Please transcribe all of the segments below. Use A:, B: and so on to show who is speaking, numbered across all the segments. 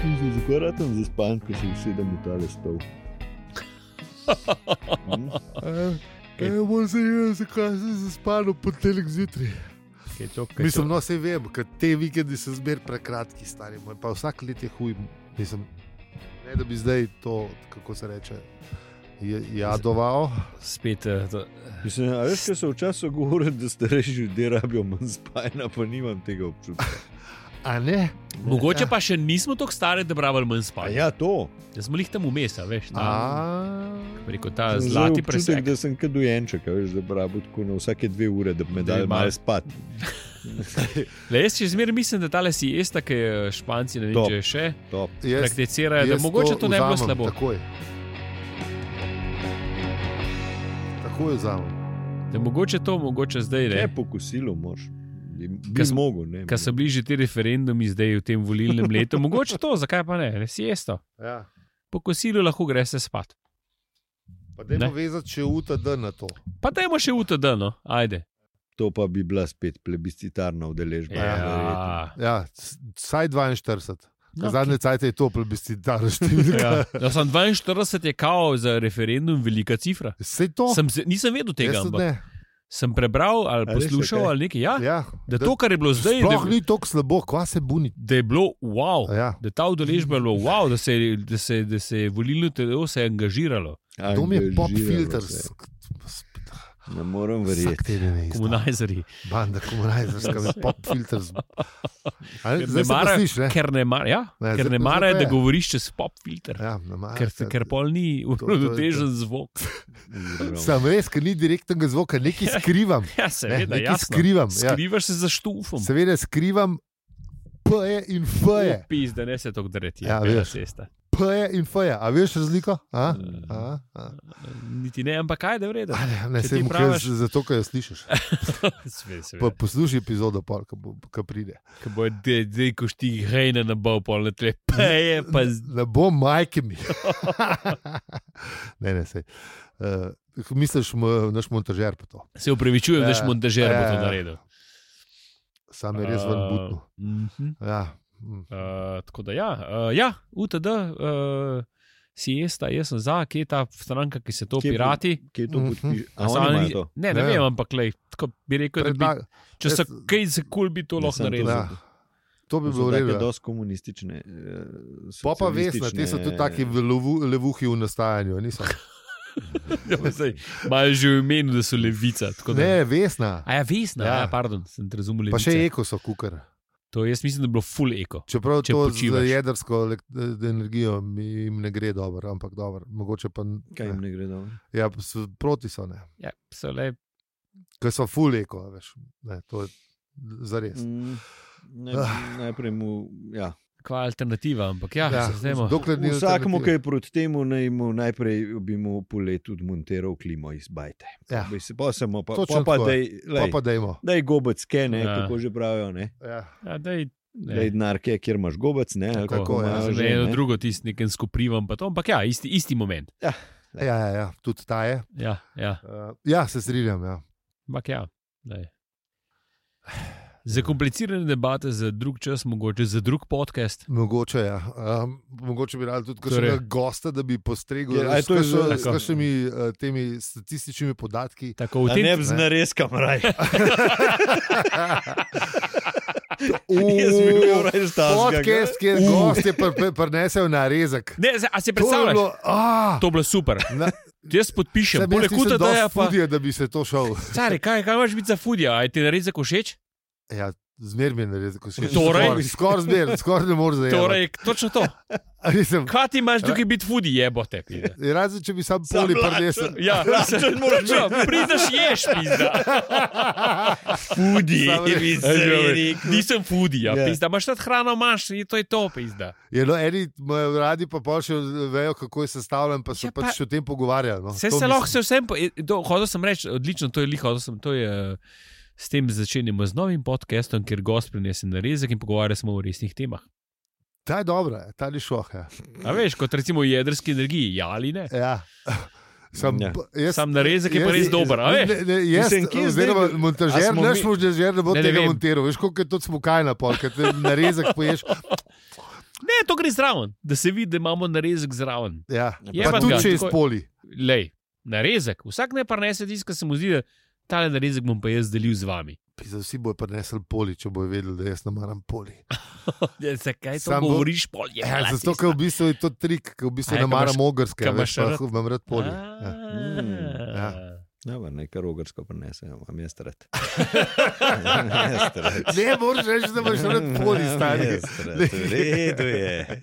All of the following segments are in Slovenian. A: sem zelo rad zaspan, ko sem sedem v tale stol. Hm?
B: Kaj je bolj zanimivo, zakaj sem se spal po telek zjutraj?
C: Kaj je to, kaj je
B: Mislim, no, se vem, ker te vikendi so zmer prekratki, stari moj, pa vsak let je huj. Mislim, ne da bi zdaj to, kako se reče, je- jadoval.
C: to? spet. eh, to-
A: Mislim, a veš, kaj so včasih govorili, da starejši ljudje rabijo manj spanja, pa nimam tega občutka.
B: A ne?
C: Mogoče pa še nismo tako stari, da bi rabili manj
A: Pa
C: spali.
A: ja, to.
C: Da smo jih tam vmes, a veš. Ta,
B: A,
C: preko ta
A: Sem zdaj
C: zlati
A: občutek,
C: presek.
A: Da sem kot dojenček, a veš, da bi rabil tako na vsake dve ure, da bi me
C: Da je
A: dal
C: malo-
A: malo spati.
C: Le, jaz še zmeraj mislim, da ta le si esta, ki je španci, ne vem,
A: Top.
C: če je še
A: Top.
B: jaz,
C: prakticirajo, da
B: jaz
C: mogoče to ne bi bilo
B: vzamem
C: slabo.
B: Takoj. Takoj vzamem.
C: Da mogoče to, mogoče zdaj ne.
A: Ne po kosilu, mož. Bi, bi
C: Kas-
A: zmogel, ne.
C: Ker so bili že ti referendumi zdaj v tem volilnem letu, mogoče to, zakaj pa ne, ne si jesto.
B: Ja.
C: Po kosilu lahko greš spat.
B: Pa dajmo vezati, če UTD na to.
C: Pa dajmo še UTD, no, ajde.
A: To pa bi bila spet plebiscitarna udeležba. verjetno.
C: Ja,
B: Ja, s- vsaj 42.
C: No,
B: No, Zadnje cajt je to plebiscitarno številka.
C: ja. No, sem 42 je kao za referendum velika cifra.
B: Vse to?
C: Sem se, nisem vedel tega,
B: No. Jaz tudi
C: ampak
B: ne.
C: sem prebral ali
A: A res,
C: poslušal
A: zakaj?
C: ali nekaj. Ja,
B: Ja,
C: da to, kar je bilo zdaj,
B: Sploh
C: da,
B: ni tako slabo, kva se buni.
C: da je bilo wow.
B: Ja.
C: Da ta udeležba je bila wow, da se, je- da se, je- da se je volilno telo se je angažiralo.
B: To mi je pop
A: Angažiralo
B: filter.
A: se.
B: Spet,
A: Ne morem verjeti.
B: vsak teden je isto.
C: Komunajzari.
B: Banda komunajzerska, mi pop filter. z- A ne,
C: Ker ne
B: Zdaj se pa
C: marajo-
B: sliš, ne?
C: Ker ne marajo, ja,
B: Ne, zdaj
C: ker ne
B: pa- zdaj
C: marajo,
B: pa
C: da
B: je.
C: govoriš čez pop filter.
B: Ja, ne marajo,
C: Ker,
B: ker-
C: ker pol ni
B: to- to je
C: uravnotežen zvok.
A: Ogromno.
B: Sam res, ker ni direktnega zvoka, nekaj skrivam.
C: Ja,
B: Ne,
C: seveda,
B: nekaj
C: jasno.
B: skrivam. Ja.
C: Skrivaš se za štufom.
B: Seveda skrivam P-je in E. F-je.
C: Pis, da ne se to dreti.
B: Ja,
C: Ja, veš.
B: veš.
C: Cesta.
B: P-je in F-je. A veš razliko? A? A? A?
C: Niti ne, ampak kaj je vredno.
B: A Ne, ne
C: Če
B: se
C: ti
B: mu
C: praviš-
B: kaj zato, ker jo slišiš. Pa poslušaj epizodo, pol, ko bo- ko pride.
C: Ko bo zdaj, ko ti hejne na bal, pol ne tre. Peje, pa z-
B: Ne bo majkami. ne, ne, sej. Uh, misliš, mo- naš montažer pa to.
C: se upravičujem, da
B: Ja,
C: si montažer bo to
B: ja.
C: naredil.
B: Sam je res ven
C: Eh,
B: butno.
C: mhm.
B: Ja. mm.
C: Eh, Tako da ja, eh, ja UTD. eh, Si jesta, jaz sem za, kje je ta stranka, ki se to
A: Kje bo-
C: pirati.
A: Kje to
B: Mhm.
A: podpiše?
C: A so oni-
A: Ampak
C: Ne, ne
B: Ja.
C: vem, ampak lej, tako bi rekel, da bi,
B: Predla-
C: če se
B: jaz-
C: kaj za kul bi to lahko
A: Mislim, to-
C: naredil.
B: Ja. To bi
A: so
B: bilo v
A: take
B: redu. ja.
A: dosti komunistične. eh,
B: Pa pa vesna, ti so tudi taki levu- levuhi v nastajanju. niso?
C: Ja, pa zdaj, Imajo že v imenu, da so levica. tako Da...
B: Ne, vesna.
C: A ja, vesna, ja.
B: Ja.
C: Ja, pardon, sem te razumel.
B: Pa
C: levica.
B: še eko so kukar.
C: To jaz mislim, da je bilo full eko.
B: Čeprav
C: Če
B: Če to
C: počivaš.
B: z jedrsko elek- eh, energijo mi- jim ne gre dobro, ampak dobro, mogoče pa n-
A: Kaj jim ne gre dobro?
B: ja, s- proti so ne.
C: Ja, so le,
B: Ker so fuleko, veš. Ne, to je zares.
A: Mm, ne,
B: Ah.
A: najprej mu. Ja.
C: kva alternativa, ampak ja, ja. se znemo.
B: dokler ni
A: Vsakemu, ki
B: alternative.
A: je proti temu, naj mu najprej bi mu po letu odmontiral klimo iz bajte.
B: Ja.
A: Bi se pa samo pa, pa,
B: Točno
A: pa
B: tako je.
A: dej,
B: Pa
A: lej,
B: pa dajmo.
A: dej gobec, ke ne,
C: Ja.
A: ja. kako že pravijo, ne.
B: Ja.
C: Ja, daj, ne.
A: Dej denar, ke, kjer imaš gobec, ne. ali
C: Tako,
A: kako
B: tako, ja.
A: imajo
C: Zdaj
A: že,
C: eno
A: ne.
C: drugo tisti nekem skoprivam, pa to, ampak ja, isti, isti moment.
B: Ja, ja, ja, tudi ta je.
C: Ja, ja,
B: Uh, ja, se strinjam. Ja.
C: ampak ja. daj. Za komplicirane debate, za drug čas, mogoče za drug podcast.
B: Mogoče, ja. um, mogoče bi radi tudi
C: Torej.
B: kakšnega gosta, da bi postregel
A: Ja, a je
B: s
A: to
B: kakšno-
A: že-
B: s
C: tako.
B: kakšnimi uh, temi statističnimi podatki.
C: Tako v
A: A
C: tem
A: ne bi z narezkom raj. Jaz bi bil
B: Uh,
A: raj stavljen.
B: Podcast, kjer
A: Uh.
B: gost je pri- pri- prinesel narezek.
C: Ne, zdaj, a si
B: To je
C: predstavljaš?
B: bilo, ah,
C: To je bilo super.
B: Na-
C: Jaz podpišem,
B: Sam
C: poleg
B: jaz nisem
C: tega, da je
B: dosti
C: pa.
B: fudija, da bi se to šel.
C: Stari, kaj, kaj imaš biti za fudija? A je ti naredil všeč?
B: Ja, zmer mi je naredil, ko si
C: Torej?
B: Skoraj zmer, skoraj ne moreš zajeti.
C: Torej, točno to.
B: Nisem,
C: Kaj ti imaš tukaj biti fudi, jebote. pizda.
B: razen če bi sam
A: Sam
B: poli
A: lačen.
B: prinesel.
C: Ja,
A: Lačen moraš
C: točno, prideš ješ, pizda.
A: Fudi,
B: Samo res.
A: bi se rekel.
C: Nisem fudi, ja,
A: Ja.
C: pizda. Imaš nad hrano, imaš in to je to, pizda.
B: Je, no, eni imajo radi, pa pol še vejo, kako je sestavljen, pa se
C: Ja,
B: ja,
C: pa-
B: pa... pač o tem pogovarjajo. No.
C: Vse
B: To
C: se
B: mislim.
C: lahko, se vsem, po- e, to, hodil sem reči, odlično, to je liho, hodil sem, to je. eh, S tem začenjamo z novim podcastom, kjer gost prinese narezek in pogovarja se o resnih temah.
B: Ta je dobra, ta ni šlo. Ja.
C: A veš, kot recimo o jedrski energiji, ja ali ne?
B: Ja. Sam,
A: Ja.
B: ja. Jaz,
C: Sam narezek je pa res dober, a veš?
B: Ne, ne, jaz,
A: Mislim, kje zdaj-
B: oziroma,
A: a
B: montažer,
A: smo
B: naš
A: mi-
B: montažer ne bo
C: Ne, ne
B: tega
C: vem.
B: montiral. Veš, koliko je to smukaj na pol, ker te narezek poješ.
C: Ne, to gre zraven, da se vidi, da imamo narezek zraven.
B: Ja.
C: Je
B: Pa,
C: pa
B: pa tudi
C: ga,
B: če je
C: tako-
B: spoli.
C: Lej, narezek, vsak ne pa nese tisto, kar se mu zdi, da ta narezek bom pa jaz delil z vami.
B: Pisa, vsi bojo prinesli poli, če bojo vedeli, da jaz ne maram poli.
C: Ja, zakaj to
B: Samo-
C: govoriš, pol je?
B: Ja, zato, ker v bistvu je to trik, ker v bistvu
C: A ja,
B: ne
C: ka
B: maram
C: imaš-
B: ogrske,
C: ka
B: veš,
C: imaš
B: pa
C: rad-
B: hu- imam rad poli. Ja. ja.
C: Ja.
A: Ja, pa nekaj rogarsko prenese, imam jaz rad.
B: Ne moreš reči, da imaš rad
C: Ja,
B: poli, stari.
A: V redu je.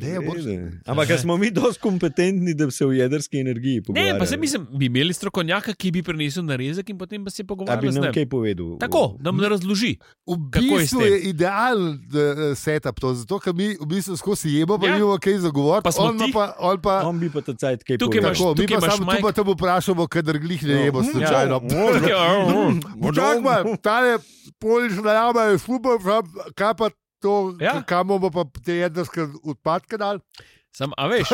B: Ne,
A: V redu
B: boš-
A: je. Ampak a smo mi dosti kompetentni, da bi se v jedrski energiji pogovarjali.
C: Ne, pa se mislim, bi imeli strokovnjaka, ki bi prinesel narezek in potem pa se
A: da bi
C: pogovarjali z
A: nam
C: njim.
A: kaj povedal.
C: Tako, da nam razloži.
B: V
C: Kako je s
B: bistvu
C: tem?
B: je idealen eh, setup to, zato ker mi v bistvu skozi jemo, pa
C: Ja.
B: ja. nimamo kaj zagovoriti.
C: Pa smo
B: on ima
C: tih.
B: pa, on pa
A: On bi pa ta cajt kaj
C: Tukaj imaš-
A: povedal.
B: tako, mi
C: tukaj
B: pa
C: imaš
B: samo
C: majk-
B: tu pa te vprašamo, kaj drglih ne jemo
A: Ja.
B: slučajno.
C: ja.
B: Počakaj, ta je poliš najama, je šubo, kaj pa to,
C: Ja.
B: ja. kam bomo pa te jedrske odpadke dal.
C: Sam, a veš,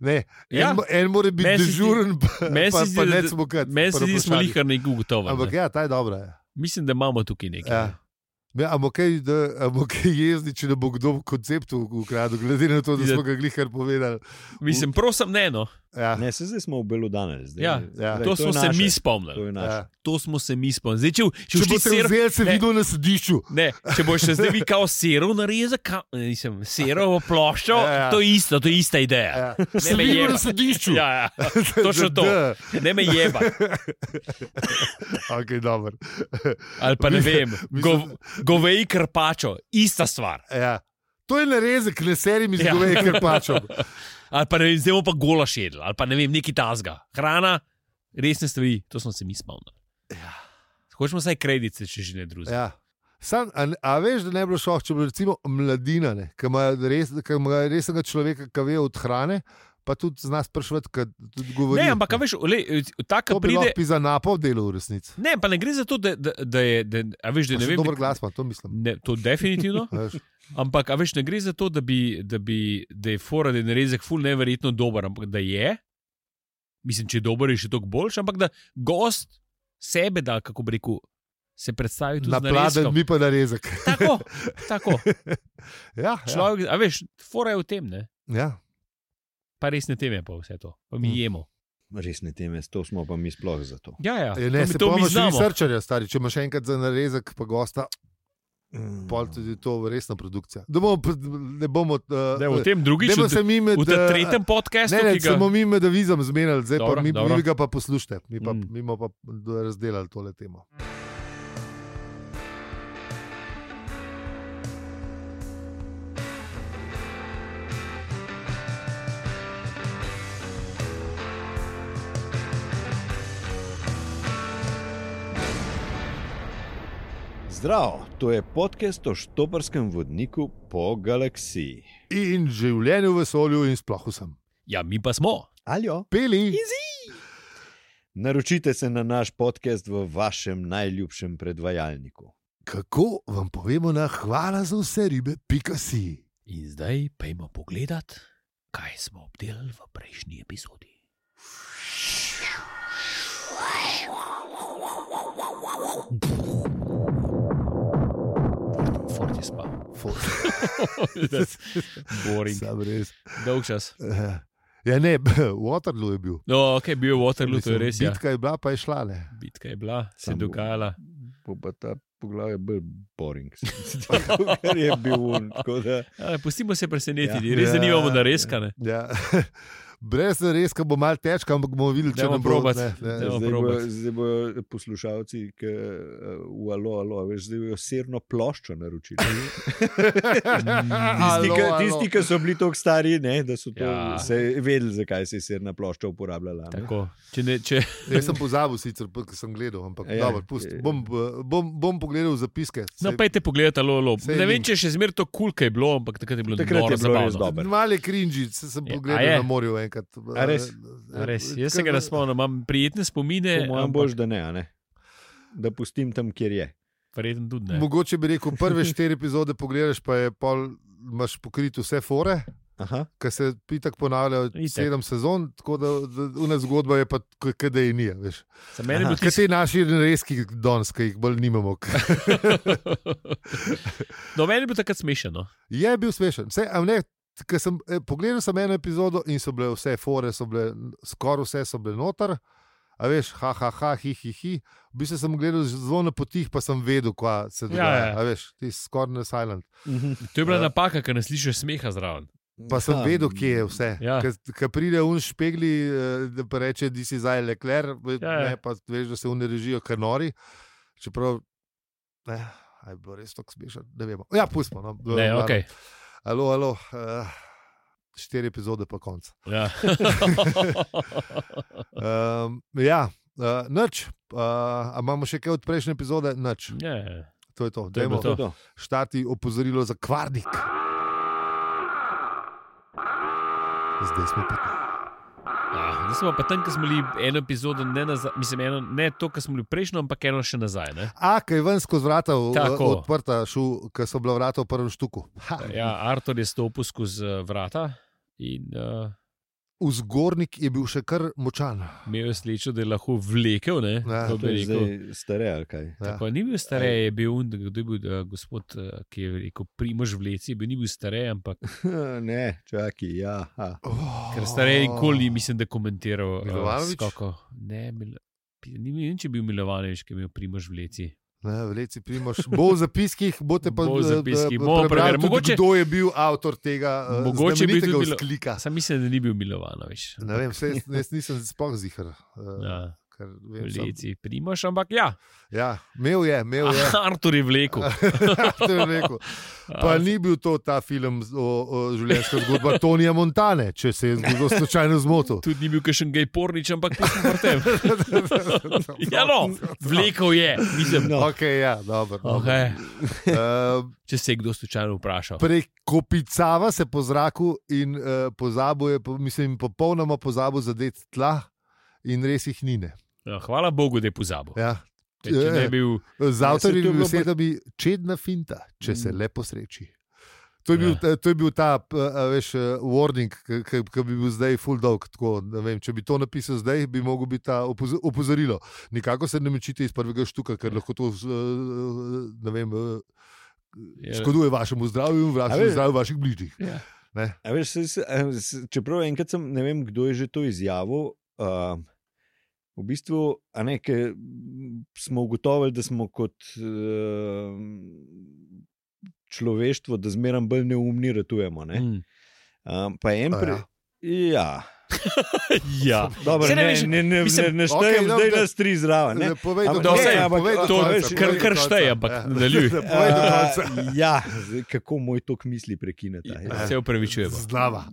B: Ne,
C: Ja.
B: ja. en, en mora biti
C: Meni se zdi-
B: dežuren, pa,
C: meni se
B: pa,
C: zdi,
B: pa
C: da-
B: ne smo kaj.
C: meni se zdi, da smo lihar nekaj
B: Ampak
C: ugotovili. ne.
B: ja, ta je dobra. Ja.
C: Mislim, da imamo tukaj nekaj.
B: Ja. Ja, Ampak kaj, da- a bo kaj jezni, če ne bo kdo v konceptu ukradel, glede na to, da smo ga glihar povedali.
C: Mislim, prosim, ne eno.
B: Ja,
A: Ne, se zdaj smo v Belodanju. zdaj-
C: Ja,
A: zdaj,
B: ja.
C: To
A: je
C: smo se
A: naše,
C: mi
A: To
C: spomnili.
A: je naše.
B: ja.
C: To smo se mi spomnili. Zdaj, če, če,
B: Če
C: če
B: bo
C: ti
B: se
C: ser,
B: vzel, se
C: ne.
B: videl na sodišču.
C: ne, če boš še zdaj vi kao serov narezal, ka, nisem serov ploščo,
B: Ja, ja.
C: to je isto, to je ista ideja.
B: Ja.
C: Ne
B: Se
C: me
B: videl na
C: jebati.
B: sodišču.
C: Ja, ja, točno to.
B: Da.
C: Ne me jeba.
B: Okay, dobro.
C: Ali pa ne vem,
B: Mislim-
C: gov, goveji krpačo, ista stvar.
B: ja. To je narezek, ne serim iz
C: Ja.
B: govej, ja. ker pačem.
C: Ali pa ne vem, zdaj bomo pa gola šedel, ali pa ne vem, neki tasga. Hrana, resne stvari, to smo se mi spomnili. Hočemo vsaj kredice, če že ne drugega.
B: Ja. Sam, a, a veš, da ne bi bilo šlo, če bi bilo recimo mladina, ne, ki ima res, ki ima resnega človeka, ki ve od hrane, pa tudi z nas prišvati, ki tudi govori.
C: Ne, ampak a veš, le, ta, ki
B: to bi
C: pride.
B: lahko za napol delo v resnici.
C: Ne, pa ne gre za to, da, da, da je. Da, a veš, da ne vem,
B: Dober
C: da-
B: glas ima, to mislim.
C: Ne, to definitivno.
B: Veš.
C: Ampak, a veš, ne gre za to, da, bi, da, bi, da je fora, da je narezek ful neverjetno dober, ampak da je. Mislim, če je dober, je še toliko boljši, ampak da gost sebe da, kako bi rekel, se predstavi tudi
B: Na pladen,
C: narezkom.
B: mi pa narezek.
C: Tako, tako.
B: Ja, ja.
C: Človek, a veš, fora je v tem, ne?
B: ja.
C: pa resne teme, pa vse to, pa mi
B: Mm.
C: jemo.
A: Resne teme, to smo pa mi sploh za to.
C: Ja, ja,
B: Je, E, ne,
C: to, mi-
B: se
C: to mi
B: pomeni, da
C: znamo.
B: si srčarja, stari. Če imaš enkrat za narezek, pa gosta,
A: Mm.
B: pol tudi to resna produkcija. Da bomo, pr- ne bomo. Uh,
C: Da, v tem drugim,
B: Dajmo se mi med,
C: v tem
B: eh,
C: tretjem podkastu,
B: Ne, ne,
C: ki ga
B: samo mi medavizem zmenili, zdaj
C: Dobro,
B: pa mi,
C: dobro.
B: vi ga pa poslušajte, mi, pa,
C: Mm.
B: mm. mi bomo pa d- razdelali tole temo.
A: Zdravo, to je podcast o štoparskem vodniku po galaksiji.
B: In življenje v vesolju in sploh vsem.
C: Ja, mi pa smo.
A: Aljo.
B: Peli,
A: Naročite se na naš podcast v vašem najljubšem predvajalniku.
B: kako vam povemo na hvala za vse ribe, pika si.
C: In zdaj pojmo pogledat, kaj smo obdelali v prejšnji epizodi. Fort je spal. Boring.
B: Sam res.
C: Dolg čas.
B: Eh, Ja, ne, Waterloo je bil.
C: No, ok, bil je Waterloo, to
B: Mislim,
C: je res. Ja.
B: Bitka je bila, pa je šla. Ne.
C: Bitka je bila, se je
A: Samo-
C: dogajala.
A: Po pa ta poglavje bolj boring, kot je bil on. tako da-
C: A, pustimo se presenetiti,
A: Ja.
C: res zanimamo
B: Ja.
C: narezkane.
B: Ja. Brez res, ki bo malo težko, ampak bomo videli, če
C: Dajmo
B: nam
C: probat.
B: Ne,
C: Dajmo.
B: ne.
A: Zdaj
C: probat.
A: bojo, zdaj bojo poslušalci, ki eh, v alo, alo, veš, zdaj bojo serno ploščo naročili. Tisti, ki-
B: Alo, alo.
A: Tisti, ki so bili tako stari, ne, da so to
C: Ja.
A: ja. vedeli, zakaj se je serna plošča uporabljala. ne.
C: Tako, če ne, če,
B: Jaz sem pozabil, sicer, pa, ko sem gledal, ampak
A: Ja,
B: ja, dobro, pust.
A: je-
B: Bom, eh, bom, bom pogledal zapiske.
C: no,
B: Saj-
C: pejte pogledat, alo, alo.
B: Saj
C: Ne vem,
B: link.
C: če je še zmeraj to kul, cool, kaj je bilo, ampak takrat je bilo
A: Takrat je
C: noro
A: bilo
C: zabavno.
A: res dobro.
B: Male krinži, se sem
C: Ja,
B: pogledal
C: a je?
B: na morju enkrat. Eh,
A: A res?
C: A Res, jaz se ga ne spomnim, imam prijetne spomine.
A: Ja, Po mojem
C: ampak
A: bož, da ne, a ne, da pustim tam, kjer je.
C: Verjetno tudi ne.
B: Mogoče bi rekel, prve štiri epizode pogledaš, pa je pol, imaš pokrit vse fore,
A: Aha,
B: ki se pitak ponavlja
C: Itak.
B: sedem sezon, tako da ena zgodba je pa, k- k- da je ni.
C: Za mene je
A: Aha.
C: bil
B: Kaj
C: tisti.
B: ti naši reski danes, ki jih bolj nimamo? ke-
C: No, meni je bil takrat smešen. no.
B: Je bil smešen. Vse, a ne, ker sem, eh, pogledal sem eno epizodo in so bile vse fore, so bile, skoraj vse so bile noter. A veš, ha, ha, ha, hi, hi, hi. V bistvu sem gledal zelo na potih, pa sem vedel, kaj se dogaja. Ja,
C: ja.
B: ja. Veš, ti si skoraj na silent.
C: To je bila
B: Ja.
C: napaka, ker ne slišiš smeha zraven.
B: Pa sem vedel, kje je vse.
C: Ja.
B: Ja. Ko pride un špegli, eh, da pa reče, da si zdaj lekler,
C: Ja, ja.
B: ja, ja. pa veš, da se unerežijo kanori. Čeprav, ne, a je bilo res tako smešno, ne vemo. Ja, pustimo. No,
C: Ne,
B: Glavno.
C: okay.
B: Alo, alo, uh, štiri epizode pa konc.
C: ja.
B: Um, ja, uh, noč. Uh, a imamo še kaj od prejšnje epizode? Noč.
C: ja.
B: To je to.
C: To je bilo
B: Dajmo
A: To je to.
B: štati opozorilo za kvarnik. Zdaj smo pa tam.
C: Ah, Zdaj smo pa tam, ker smo bili eno epizodo, ne, nazaj, mislim, eno, ne to, kar smo bili prejšnjo, ampak eno še nazaj. Ne?
B: A, kaj je ven skozi vrata v-
C: Tako.
B: odprta, ker so bila vrata v prvem štuku. Ha.
C: Ja, Artur je stopil skozi eh, vrata in uh,
B: Vzgornik je bil še kar močan.
C: imel je srečo, da je lahko vlekel. Ne,
B: Ja,
A: To
C: kdo bi
A: je
C: rekel.
A: zdaj stare ali kaj.
B: Ja.
C: Tako, ni bil starej, je bil, un- kdo je bil uh, gospod, uh, ki je rekel, primož vleci, bil, ni bil starej, ampak
A: Ne, čakaj, ja. ha.
B: Oh.
C: ker starej nikoli ni, mislim, da komentiral. eh,
B: Milovanović?
C: skokov. Ne, Mil ni bil, če je bil Milovanovič, ki je imel primož vleci.
B: Ne, Vleci primoš. Bo v zapiskih, boste pa
C: Bo v
B: eh,
C: zapiskih,
B: eh,
C: bomo
B: prebrali
C: preverili.
B: tudi,
C: Mogoče-
B: kdo je bil avtor tega eh,
C: Mogoče bi tudi bilo-
B: sklika.
C: Sam mislim, da ni bil Milovanovič.
B: Ne vem, saj jaz, jaz nisem spoh zihar. Ja.
C: Ja,
B: Kar vem, sam,
C: vleci, primož, ampak ja.
B: ja, imel je, imel je. Ja,
C: Artur je vlekel.
B: to je rekel. Pa ni bil to ta film z- o, o življenjski zgodbi Tonija Montane, če se je zgodil slučajno zmotil.
C: Tudi ni bil kakšen gej pornič, ampak pustimo pri tem. Ja, no, vlekel je, nisem.
A: No.
B: Okay, ja, dobro, dobro.
C: Okay.
B: Uh,
C: Če se je kdo slučajno vprašal.
B: prekopicava se po zraku in uh, pozabo je, po- mislim, popolnoma pozabo zadeti tla. In res jih ni. ne.
C: Ja, Hvala Bogu, da je pozabil.
B: Ja.
C: Ker Če ne bi bil,
B: Z
A: Ja, saj to je
B: avtorjem
A: bilo pa-
B: bi rekel, da bi čedna finta, če se
A: Mm.
B: le posreči. To je bil,
C: Ja.
B: ta- to je bil ta, p- a veš, eh, warning, ki bi bil zdaj full dog. Tako, ne vem, če bi to napisal zdaj, bi lahko bil ta opozo- opozorilo. Nikako se ne mečite iz prvega štuka, ker lahko to z- eh, ne vem, eh,
C: Je-
B: škoduje vašemu zdravju in
A: Ja. A veš-
B: vašemu zdravju vaših bližnjih.
A: A veš, se, se, a, se, čeprav enkrat sem, ne vem, kdo je že to izjavil. Uh, v bistvu a ne, ke, m, smo ugotovili, da smo kot eh, uh, človeštvo, da zmeraj bolj neumni ratujemo. Ne?
C: Mm.
A: Um, pa en
B: A
A: pri. Ja.
C: Ja.
A: Dobro,
C: Saj
A: ne,
C: ne
A: ne,
C: veš,
A: ne, ne,
C: mislim-
A: ne, ne štejem
B: Okej, no,
A: okay, zdaj
B: da-
A: nas tri zraven. ne.
B: Ne, povej do
A: Ampak-
B: konca,
A: ne, ampak-
B: povej do
A: to
B: konca,
A: veš,
B: povej
A: kar-
B: do
C: kar
B: konca.
C: šteje, ampak
B: Ja.
C: nadaljuj.
B: Povej do
A: Uh,
B: konca. Ja.
A: ja, zdaj, kako moj tok misli ja. prekinete.
C: Se upravičujemo.
B: Znava.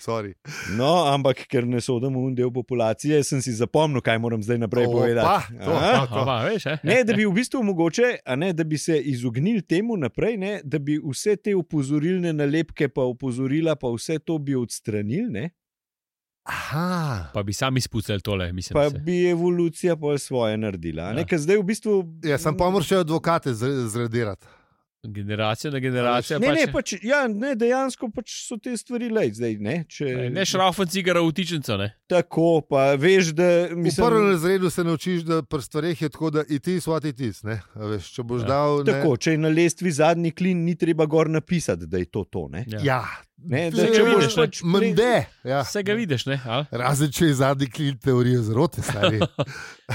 B: Sorry.
A: No, ampak ker ne sodim v en del populacije, sem si zapomnil, kaj moram zdaj naprej
B: Opa,
A: povedati.
B: to,
A: Aha.
B: to, to.
C: Aba, veš, eh?
A: Ne, da bi v bistvu mogoče, a ne, da bi se izognili temu naprej, ne, da bi vse te opozorilne nalepke, pa opozorila, pa vse to bi odstranili, ne,
B: Aha.
C: Pa bi sami spucali tole, mislim.
A: pa
C: da se-
A: bi evolucija pol svoje naredila. Ja.
C: Ja.
A: Ker zdaj v bistvu.
B: Ja, sem pomor še advokate zre- zradirati.
C: Generacija na generacijo.
A: Ne,
C: pač,
A: ne, pač, ja, ne, dejansko pač so te stvari le zdaj. Ne, če,
C: ne, ne šrafen cigara v tičnico, ne.
A: Tako pa veš, da
B: V
A: mislim,
B: prvem razredu se naučiš, da pri stvareh je tako, da itis, what itis. Veš, če boš
C: Ja.
B: dal. ne-
A: tako, če je na lestvi zadnji klin, ni treba gor napisati, da je to to. Ne?
C: Ja.
B: Ja.
A: Ne, da,
B: Saj
A: če
B: ga
A: boš
B: vidiš,
C: ne.
A: pač pre-
B: Mende. Ja.
C: Vse ga vidiš, ne? ali?
B: Razen če je zadnji klin teorije zarote, stari.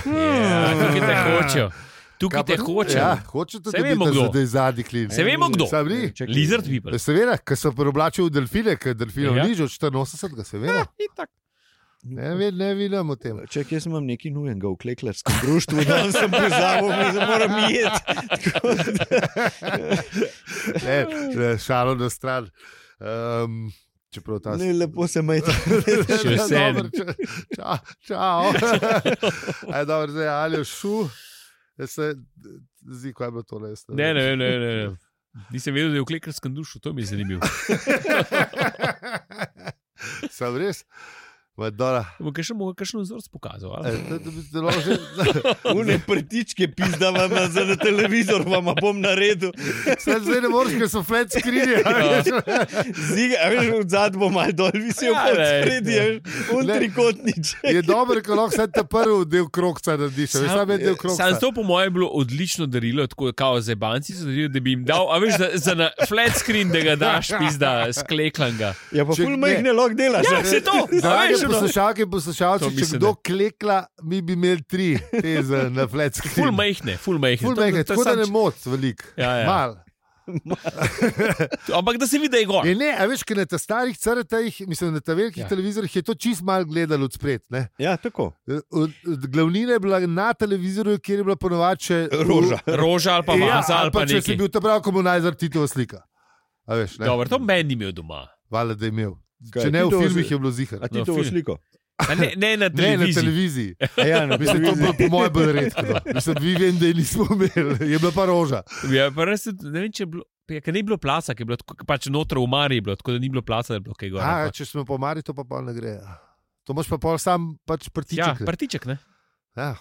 C: Ja, tukaj te hočejo.
B: Kaj
C: Tukaj te
B: pa-
C: hočejo.
B: Ja, hočete,
C: Se
B: da
C: vemo,
B: vidite,
C: kdo.
B: da je zadnji klin.
C: Se vemo, kdo.
B: Sam ni.
A: Čakaj.
C: Lizard people.
B: Seveda, ker so preoblačili v delfine, ker delfinov
C: Ja.
B: ja. ni že od 84, seveda. Ne, ve- ne vidim o tem.
A: Če jaz imam nekaj nujenega v kleklarskem društvu, da sem pozabil, da moram jeti.
B: Ne, ne, šalo na stran. Um, čeprav ta
A: Ne, lepo se majte.
C: Še
B: Ja,
C: sedem.
B: dobro, ča- ča- Čau. Aj, dobro, zdaj ali je šu. Jaz Se, zdi, kaj je bilo to res.
C: Ne, ne, ne, ne, ne. Nisem vedel, da je v klekarskem dušu, to mi je zanimivo.
B: Sam res. Madonna.
C: Bo kaj še mogel kakšen vzorec pokazal.
B: E,
C: ali?
B: to- to bi zelo že-
A: Une prtičke, pizda vam za na televizor, vam bom naredil.
B: Saj Zdaj ne moreš, ker so flat skrinje.
A: Ziga, a veš, od zadaj bo malo dol visel,
C: Ja,
A: kot
C: lej.
A: spredi, a veš, un
B: Ne.
A: trikotniček.
B: Je dobro, ko lahko vsaj ta prvi del krokca narediš. a Veš, sam je del krokca.
C: Sam to, po mojem, je bilo odlično darilo, tako kao za banci, da bi jim dal, a veš, za, za na flat screen, da ga daš, pizda, skleklanga.
A: Ja, pa
B: Če
A: ful
B: ne-
A: majhne lok delaš.
C: Ja,
A: a
C: se to, a
B: Drage
C: veš, no.
B: poslušalke in poslušalci,
C: To
B: če
C: mislim,
B: kdo
C: da.
B: klekla, mi bi imeli tri teze na flat
C: Ful
B: screen.
C: majhne, ful majhne.
B: Ful
C: To- to-
B: mehke,
C: to je
B: tako da
C: samo
B: ne
C: č-
B: moti veliko.
C: Ja, ja.
B: Mal.
C: Ampak da se vidi, da je gor.
B: Je ne, a veš, ker na ta starih crtah, mislim, na ta velikih
C: Ja.
B: televizorjih je to čist malo gledalo od spred. ne.
A: Ja, tako.
B: Od- od Glavnina je bila na televizorju, kjer je bila ponovače
A: Roža.
C: Roža ali pa
B: Ja,
C: maza ali
B: ali
C: pa
B: pa če si
C: nekaj.
B: bil tam prav komunizar, Titova slika. A veš, ne,
C: Dobro, to meni ni imel doma.
B: valjda, da je imel.
A: Kaj,
B: Če ne, v
A: Titovo
B: filmih
A: sli-
B: je bilo zihar.
A: A ti
C: No,
A: to
C: film.
A: sliko?
C: A Ne, ne na
B: Ne, na
C: televiziji.
B: televiziji.
A: A Ja, na
B: Mislim, to je
A: televiziji.
B: bilo po mojem bolj redko. no. Mislim, vi vem, da je nismo imeli, je bila pa roža.
C: Ja, pa res, tudi- ne vem, če je bilo. Ja, ker ni bilo placa, ki je bilo tako, pač noter v Mari, bilo, tako da ni bilo placa, da je bilo kaj gor.
B: A,
C: ali pa-
B: če smo pomari, to pa pol ne gre. To moš pa pol sam pač
C: Ja,
B: prtiček.
C: partiček, ne?
B: Ja.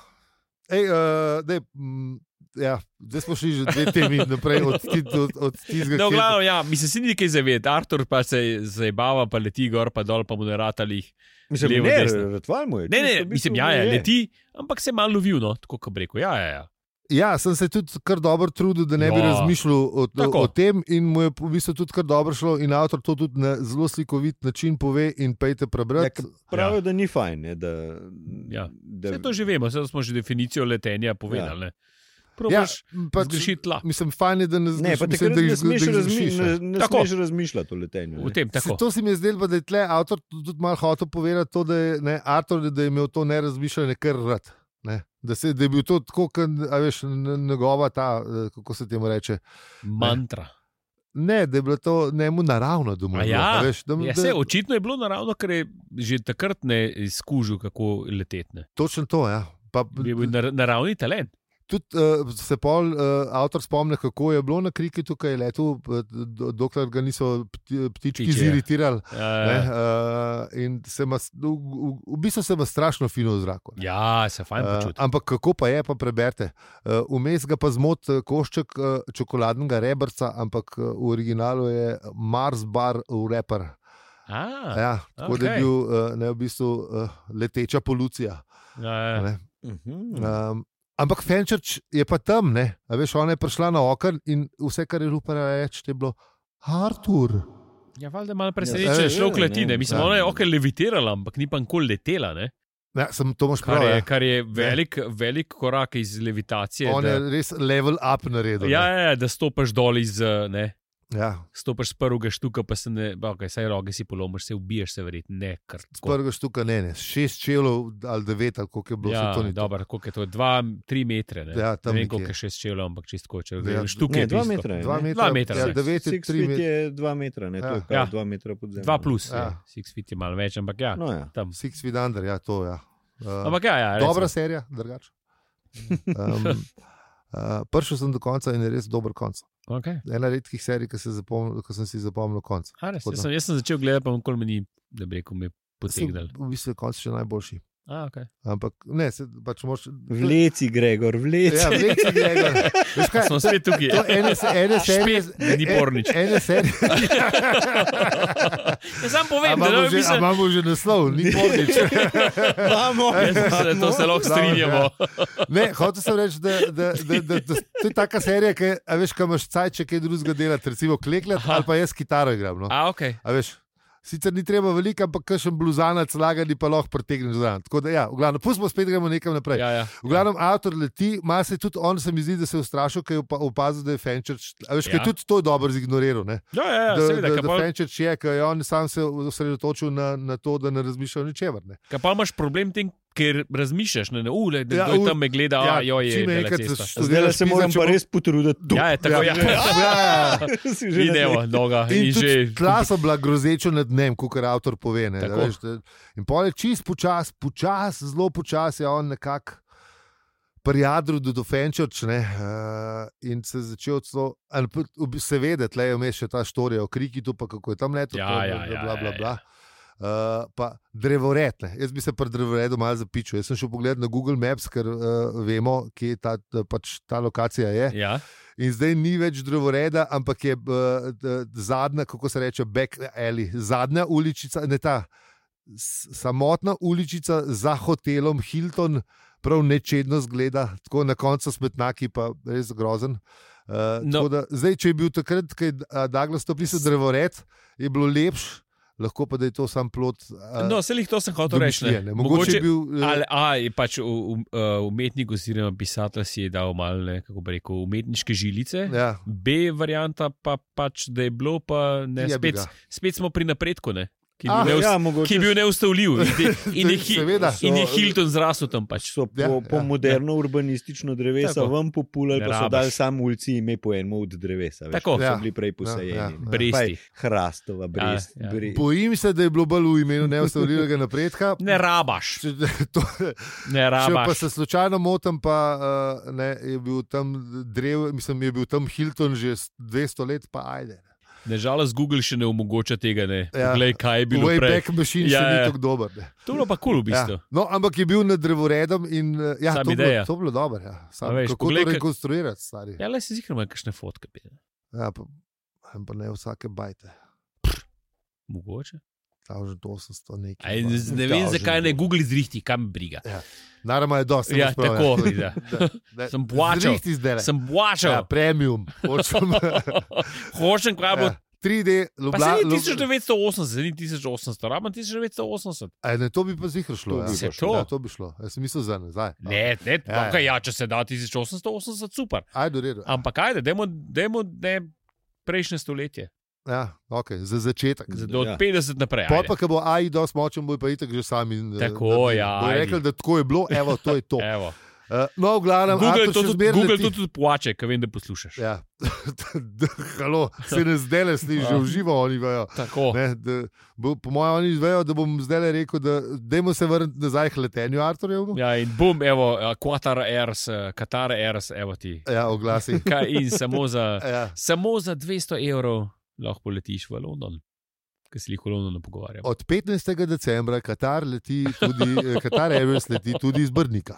B: Ej, uh, dej, mm, ja, zdaj smo šli že dve temi naprej od, ti- od, od tizga.
C: No, glavno, ja, mislim, se ni kaj zaved. Artur pa se zabava, pa leti gor, pa dol, pa mu ne ratalih.
A: Mislim,
C: Levo,
A: ne,
C: desno.
A: ratval mu je.
C: Ne,
A: čisto
C: ne,
A: v bistvu
C: mislim,
A: mu
C: ja, ja,
A: je.
C: leti, ampak se je malo lovil, no, tako kot reko. Ja, ja, ja.
B: Ja, sem se tudi kar dobro trudil, da ne bi
C: Ja.
B: razmišljal o,
C: Tako.
B: o tem, in mu je v bistvu tudi kar dobro šlo. In avtor to tudi na zelo slikovit način pove. In pejte
A: Ja,
B: prebrati.
A: ker Pravijo, da ni fajn. Ne, da,
C: Ja.
A: da,
C: Vse to že vemo, vse smo že definicijo letenja povedali. ne.
B: Ja,
C: Probaš ja,
B: pač,
C: zgrešiti tla.
B: mislim, fajn je, da ne
A: ne, pa
B: zgrešim, mislim,
A: takrat
B: da jih
A: ne
B: zgre-
A: smeš
B: da jih zgrešiš, ne.
A: razmi- ne- ne
C: Tako.
A: smeš razmišljati o letenju.
C: V
A: ne.
C: tem,
B: Se,
C: tako.
B: to se mi je zdelo, pa da je tle avtor tudi malo hotel povedati, to, da je ne, Artur, da je imel to nerazmišljanje kar rad. Ne. Da, se, da je bil to tako, kot veš, n- njegova ta, eh, kako se temu reče.
C: Mantra.
B: Ne, da je bilo to njemu naravno doma.
C: A ja,
B: veš, da,
C: Ja,
B: da,
C: se, očitno je bilo naravno, ker je že takrat ne izkužil, kako letetne.
B: točno to, ja. Pa,
C: Je bil nar- naravni talent.
B: Tudi uh, se pol uh, avtor spomne, kako je bilo na kriketu, ko je letel, eh, do- dokler ga niso pti, ptički
C: Ptiči, ja.
B: ziritirali. Ne,
C: Uh,
B: uh, in se ima, s- v, v, v bistvu se ima strašno fino v zraku. ne.
C: ja, se fajn
B: Eh,
C: počuti.
B: ampak kako pa je, pa preberite. Eh, Vmes ga pa zmot eh, košček eh, čokoladnega rebrca, ampak eh, v originalu je Mars bar v reper.
C: A,
B: Ja, tako okay. da je
C: Ah, okej.
B: bil eh, ne, v bistvu eh, leteča polucija.
C: ja, ja.
B: Ne.
A: Mhm.
B: Um, ampak Fenčerč je pa tam, ne? A veš, ona je prišla na okn in vse, kar je upala reči, je bilo Artur.
C: Ja, valjda je malo
A: Ja,
C: presenečen,
B: ja,
C: šlo
A: ja,
C: v kletine.
A: ne,
C: Mislim,
B: ja.
C: ona je ok levitirala, ampak ni pa nikoli letela, ne?
B: Ja, sem to moš
C: kar
B: prav.
C: je,
B: ja.
C: kar je velik, velik korak iz levitacije.
B: On je
C: da,
B: res level up naredil.
C: ja,
B: ne.
C: ja, ja, da stopiš dol iz, eh, ne,
B: ja.
C: stopiš z prvega štuka, pa se ne, okay, saj roge si polomiš, se ubiješ, se verjetno ne. Kar, tako.
B: Prvega štuka ne, ne, šest čelov ali devet, ali koliko je bilo, ja,
C: Ja,
B: to ni dobro.
C: dobro, koliko je to, dva, tri metre. Ne,
B: Ja, tam nekje.
C: ne vem, koliko je šest čevljev, ampak čistko če
B: Ja,
C: ja, štuke.
A: Ne,
C: je
A: dva
C: tisto.
A: metra. je,
B: Dva
A: ne?
B: metra,
C: Dva metra,
B: ja,
C: ne.
B: devet je
A: Six
B: tri
A: feet
B: metre.
A: je dva metra, ne, to
B: Ja.
A: je kar
C: Ja.
A: dva metra pod zemljo.
C: Dva plus,
B: Ja.
C: ja. six feet je malo več, ampak ja. No.
A: No, ja.
C: Tam.
B: Six feet under, ja, to je. Ja. Uh,
C: Ampak ja, ja
B: Dobra
C: recimo.
B: serija, drugače. Um, uh, prišel sem do konca in je res dober konc.
C: Okay.
B: Ena redkih serij, ki, se zapomnil, ki sem si zapomnil konc.
C: A, res,
B: Tako
C: jaz,
B: da-
C: sem, jaz sem začel gledati, pa nikoli me ni, da bi rekel, me
B: Sem-
C: potegnil.
B: V bistvu je konc še najboljši.
C: A, okay.
B: Ampak ne, se, pač moraš.
A: Vleci, Gregor, vleci.
B: Ja, vleci, Gregor. Veš kaj,
C: Smo spet tukaj.
B: to ene, se- ene serije.
C: Spet ni pornič.
B: e- Ene serije.
C: Ja, Sam
B: A
C: povem, da
B: Imamo
C: ne
B: že, a
C: mislim.
B: imamo že naslov, ni pornič.
A: Vamo.
C: Jaz mislim, da To se lahko strinjamo.
B: Ne, hotel sem reči, da, da, da, da, da to je taka serija, ki a veš, kam imaš caj, če kaj drugega delati, recimo klekljati
C: Aha.
B: ali pa jaz kitaro igram. No.
C: A, okay.
B: A veš, sicer ni treba veliko, ampak kakšen bluzanac lagani pa lahko pretegneš zraven. Tako da ja, v glavnem, pustimo spet gremo nekam naprej.
C: ja, ja.
B: V glavnem, avtor leti, malo se je tudi on, se mi zdi, da se je ustrašil, ker je opa- opazil, da je Fenčerč. A veš, ja. ker
C: Ja.
B: je tudi to dobro zignoriral. Ne?
C: Ja, ja, ja,
B: da,
C: seveda,
B: da,
C: kaj
B: da
C: pol-
B: Fenčerč je, ker je on sam se osredotočil na, na to, da ne razmišlja o ničemer. Ne?
C: Kaj pa imaš problem tem, ker razmišljaš, ne, ne, ule, da
B: Ja,
C: kdo je
B: u-
C: tam me gleda, a joj, je
B: čim
C: dela
B: enkrat
C: cesta.
A: Zdaj
B: študiraš
A: se moram
B: pizda, če
A: pa
B: bo-
A: res potruditi.
C: Ja, je tako, ja. ja.
B: ja.
A: Si že na
C: Idemo, noga in,
B: In
C: že.
B: tudi tla so bila grozeča nad dnem, kot je avtor pove. Ne, da,
C: Tako.
B: veš, da, in pol je čist počasi, počasi, zelo počasi je on nekako prijadru do Dofenčoč uh, in se je začel celo, ali pa v bi- seveda, tle je vmes še ta štorija o kriki, tu pa kako je tam leto,
C: Ja,
B: to,
C: ja,
B: bla,
C: ja,
B: bla, bla,
C: ja,
B: bla.
C: ja.
B: Uh, pa drevored. Ne. Jaz bi se pri drevoredu malo zapičil. Jaz sem šel pogled na Google Maps, ker uh, vemo, kje ta, ta, pač ta lokacija je.
C: Ja.
B: In zdaj ni več drevoreda, ampak je uh, d- zadnja, kako se reče, back alley, zadnja uličica, ne ta s- samotna uličica za hotelom Hilton, prav nečedno zgleda, tako na koncu smetnaki, pa res grozen. Uh,
C: No.
B: no. da, zdaj, če je bil takrat, ko je a, Douglas to pisal, drevored, je bilo lepš, lahko pa da je to sam plot. a,
C: No, se jih to sem hotel reči.
B: domišljije, ne. Mogoče, Mogoče je bil. eh,
C: Ali, a, je pač u- u- uh, umetnik oziroma pisatelj si je dal malo, ne, kako bi rekel, umetniške žilice.
B: eh, ja,
C: B varianta pa pač, da je bilo, pa ne,
B: Je bi
C: spet,
B: ga.
C: spet smo pri napredku, ne, ki, je
B: Ah,
C: bil neust,
A: ja,
C: ja,
A: mogoče
C: ki je bil neustavljiv. In, je- in, je, Hi-
B: Seveda.
C: in je
A: So-
C: Hilton zrasel tam pač.
A: So po,
B: Ja,
A: ja, po
B: ja.
A: ja, moderno ja. urbanistično drevesa
C: Tako.
A: Tako. vam populali,
C: Ne
A: pa so
C: rabiš.
A: dali samo ulici ime po enem od drevesa. Veš,
C: Tako.
A: ki
B: Ja.
A: so bili prej posejeni.
B: Ja,
A: Ja,
B: ja,
A: ja,
B: ja.
C: Bresti.
A: Hrastova, brest.
C: Ja,
A: Ja,
C: ja.
A: ja. brest.
B: Bojim se, da je bilo bolj v imenu neustavljivega napredka.
C: Ne rabaš,
B: Če, to,
C: ne
B: Če pa
C: rabaš.
B: se slučajno motim, pa uh, ne, je bil tam drev, mislim, je bil tam Hilton že s- 200 let, pa ajde.
C: Nažalost, Google še ne omogoča tega. Ne.
B: Ja.
C: Poglej, kaj je bilo prej.
B: Wayback Machine ja,
C: Ja,
B: še ni
C: ja.
B: tako dober. Ne.
C: To je bilo pa kul cool v bistvu.
B: Ja. No, ampak je bil nad drevoredom in eh, ja,
C: Sam
B: to,
C: ideja.
B: bilo, to bilo dobro. Ja.
C: A
B: Sam,
C: veš,
B: veš, kako poglej,
C: poglej,
B: to
C: kak-
B: rekonstruirati, stari. Ja.
C: Ja, le si zikr, ima kakšne fotke. bi, ne.
B: Ja, pa, pa ne vsake bajte.
C: Mogoče.
B: 1800 nekaj.
C: Aj,
B: pa.
C: ne vem, zakaj ne Google zrihti, kam briga.
B: Naravno je dosti.
C: Ja, tako.
B: Ja.
C: Ja. Sem plačal.
B: Zrihti zdaj.
C: Sem
B: ja,
C: plačal.
B: premium. Hočem,
C: Hočem, kaj bo.
B: ja, 3D,
C: Pa se
B: Ljubljana.
C: ni 1980, se ni 1800, rabim 1980.
B: A ne, to bi pa zihar šlo.
A: To
B: Ja.
A: bi
C: Se
A: pa
C: to?
B: Ja, to bi šlo. Jaz sem mislil za nazaj.
C: Ne, ne,
B: Ja,
C: ja, okay,
B: ja.
C: ja, če se da 1880, super.
B: Ajde, redo.
C: Ampak ajde, dajmo, dajmo ne, prejšnje stoletje,
B: Ja, okay, za začetek.
C: za do
A: Ja.
C: ja. 50 naprej.
B: Pol
C: ajde.
B: pa, ko bo AI dosti močen, bo pa itek že sami.
C: Tako, ja,
B: Bo
C: ajde.
B: rekel, da tako je bilo, evo, to je to.
C: Evo.
B: Eh, No, v glavnem,
C: Google,
B: Artur,
C: to
B: še
C: tudi,
B: zmeraj
C: Google
B: leti.
C: to tudi plače, ker vem, da poslušaš. Ja.
B: Ja, halo, se ne zdaj le sliši,
C: Ja.
B: že uživo oni vejo.
C: Tako.
B: Ne, da, bo, po mojem, oni vejo, da bom zdaj le rekel, da dajmo se vrniti nazaj k letenju Arturjevemu.
C: Ja, in bum, evo, eh, Qatar Airs, eh, Qatar Airs, evo ti.
B: Ja, oglasi.
C: Kaj in samo za,
B: Ja.
C: samo za 200 evrov lahko poletiš v London, ker se jih v Londonu pogovarjamo.
B: Od 15. decembra Katar, leti tudi, eh, Katar Airways leti tudi iz Brnika.